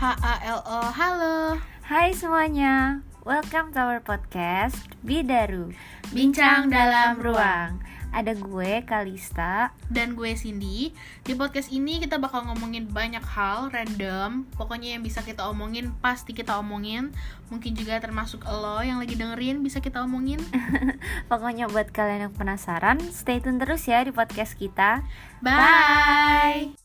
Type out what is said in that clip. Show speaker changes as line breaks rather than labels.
H A L O. Halo.
Hai semuanya, welcome to our podcast Bidaru
Bincang dalam ruang.
Ada gue Kalista
Dan gue Cindy. Di podcast ini kita bakal ngomongin banyak hal random. Pokoknya yang bisa kita omongin pasti kita omongin. Mungkin juga termasuk lo yang lagi dengerin bisa kita omongin.
Pokoknya buat kalian yang penasaran, stay tune terus ya di podcast kita
Bye.